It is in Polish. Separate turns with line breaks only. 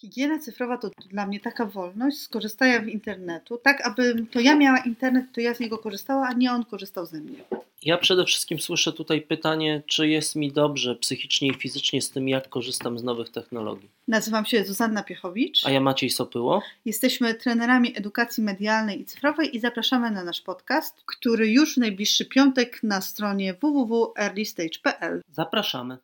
Higiena cyfrowa to dla mnie taka wolność skorzystania w internetu, tak abym to ja miała internet, to ja z niego korzystała, a nie on korzystał ze mnie.
Ja przede wszystkim słyszę tutaj pytanie, czy jest mi dobrze psychicznie i fizycznie z tym, jak korzystam z nowych technologii.
Nazywam się Zuzanna Piechowicz.
A ja Maciej Sopyło.
Jesteśmy trenerami edukacji medialnej i cyfrowej i zapraszamy na nasz podcast, który już w najbliższy piątek na stronie www.earlystage.pl.
Zapraszamy.